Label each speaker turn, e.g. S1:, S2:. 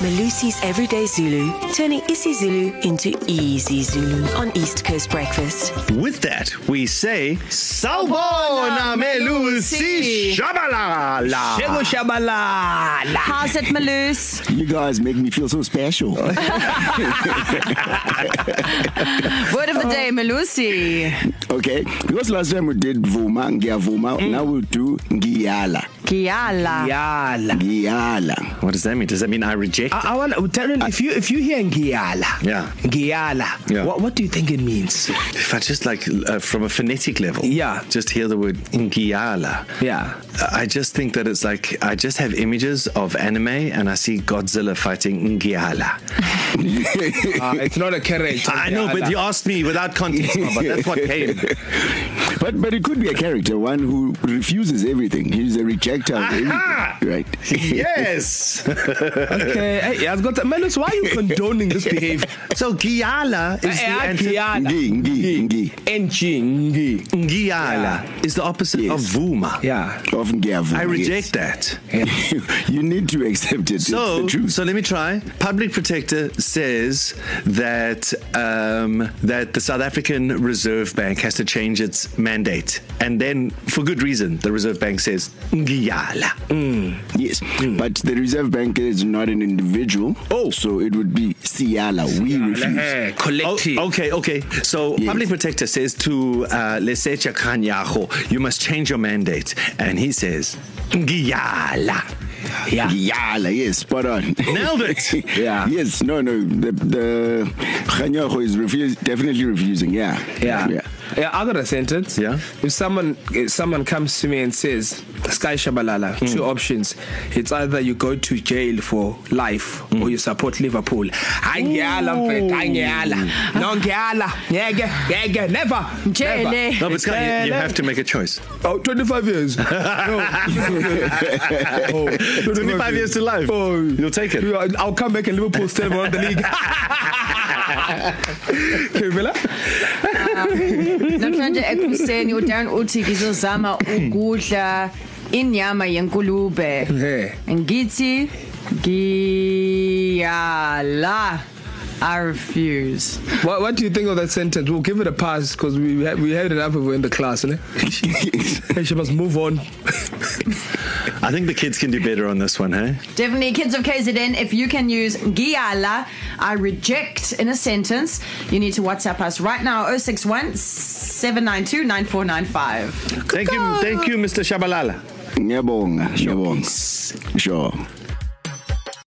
S1: Malusi's Everyday Zulu, turning isiZulu into easy Zulu on East Coast Breakfast.
S2: With that, we say Salbona Melusi Shabalala.
S3: How's it, Maloose?
S4: You guys make me feel so special.
S3: Word of the day, Malusi.
S4: okay, because last time we did Vuma, Ngiavuma,
S2: Hmm.
S4: mm. now we'll do Ngiala.
S3: Kiala.
S5: Yala.
S4: Ngiala.
S2: What does that mean? Does that mean I reject?
S5: I, I want to tell you if you if you hear Ngiala,
S2: Yeah.
S5: Ngiala,
S2: Yeah.
S5: What, what do you think it means?
S2: If I just like uh, from a phonetic level,
S5: Yeah.
S2: just hear the word Ngiala. uh,
S5: Yeah.
S2: I just think that it's like I just have images of anime and I see Godzilla fighting Ngiala.
S6: Uh, it's not a character.
S2: I know, but you asked me without context, but that's what came.
S4: But but it could be a character, one who refuses everything. He's a rejecter of
S2: Aha!
S4: everything. Right.
S2: yes.
S5: Okay, hey, I've got Maloose. Why are you condoning this behavior?
S2: So Giala is the
S5: Eh,
S2: anti-
S5: Ngiala.
S4: Ngi, ngi, ngi.
S5: Ngi.
S2: Ngiala is the opposite of
S4: Yes.
S2: Vuma.
S5: Yeah.
S4: Often Ngiavuma.
S2: I reject that.
S4: Yes. you need to accept it. it's
S2: So,
S4: the truth.
S2: so let me try. Public Protector says that um, that the South African Reserve Bank has to change its mandate, and then for good reason, the Reserve Bank says Ngiala.
S4: Yes, but the Reserve Bank is not an individual.
S2: Hmm. Oh.
S4: so it would be Ciala. We refuse.
S2: Oh,
S6: collective.
S2: okay, okay. So,
S4: Yes.
S2: Public Protector says to uh, Lesecha Kanyaho, you must change your mandate. And he says, Ngiala.
S5: Yeah.
S4: Yala, yes, spot on.
S2: Nailed it.
S5: Yeah.
S4: Yes, no, no. The the Khanyaho is refuse, definitely refusing. Yeah.
S5: Yeah.
S4: Yeah.
S6: Yeah, I got a sentence.
S2: Yeah.
S6: If someone if someone comes to me and says, Sky Shabalala, mm.
S2: Hmm.
S6: two options. It's either you go to jail for life
S2: Hmm.
S6: mm. or you support Liverpool. Angiala, mfethu, angiala.
S2: Hmm.
S6: No ngiala. Ngeke, ngeke, never.
S3: Jail, eh?
S6: never.
S2: No, but Sky, you, you have to make a choice.
S6: Oh, 25 years. no. oh,
S2: 25 years to life.
S6: Oh.
S2: You'll take it.
S6: Yeah, I'll come back and Liverpool still won the league. okay, Villa?
S3: Namhlanje ekuseni uDarren uthi ngizozama ukudla inyama yenkulube.
S6: Hey.
S3: Ngithi ngiyala. I refuse.
S6: What, what do you think of that sentence? We'll give it a pass because we ha- we had enough of it in the class, innit? hey, she must move on.
S2: I think the kids can do better on this one, hey?
S3: Definitely, kids of KZN, if you can use Giala, I reject in a sentence, you need to WhatsApp us right now 061 792 9495.
S2: Thank you, thank you, Mr. Shabalala.
S4: Ngiyabonga, ngiyabonga. Sure.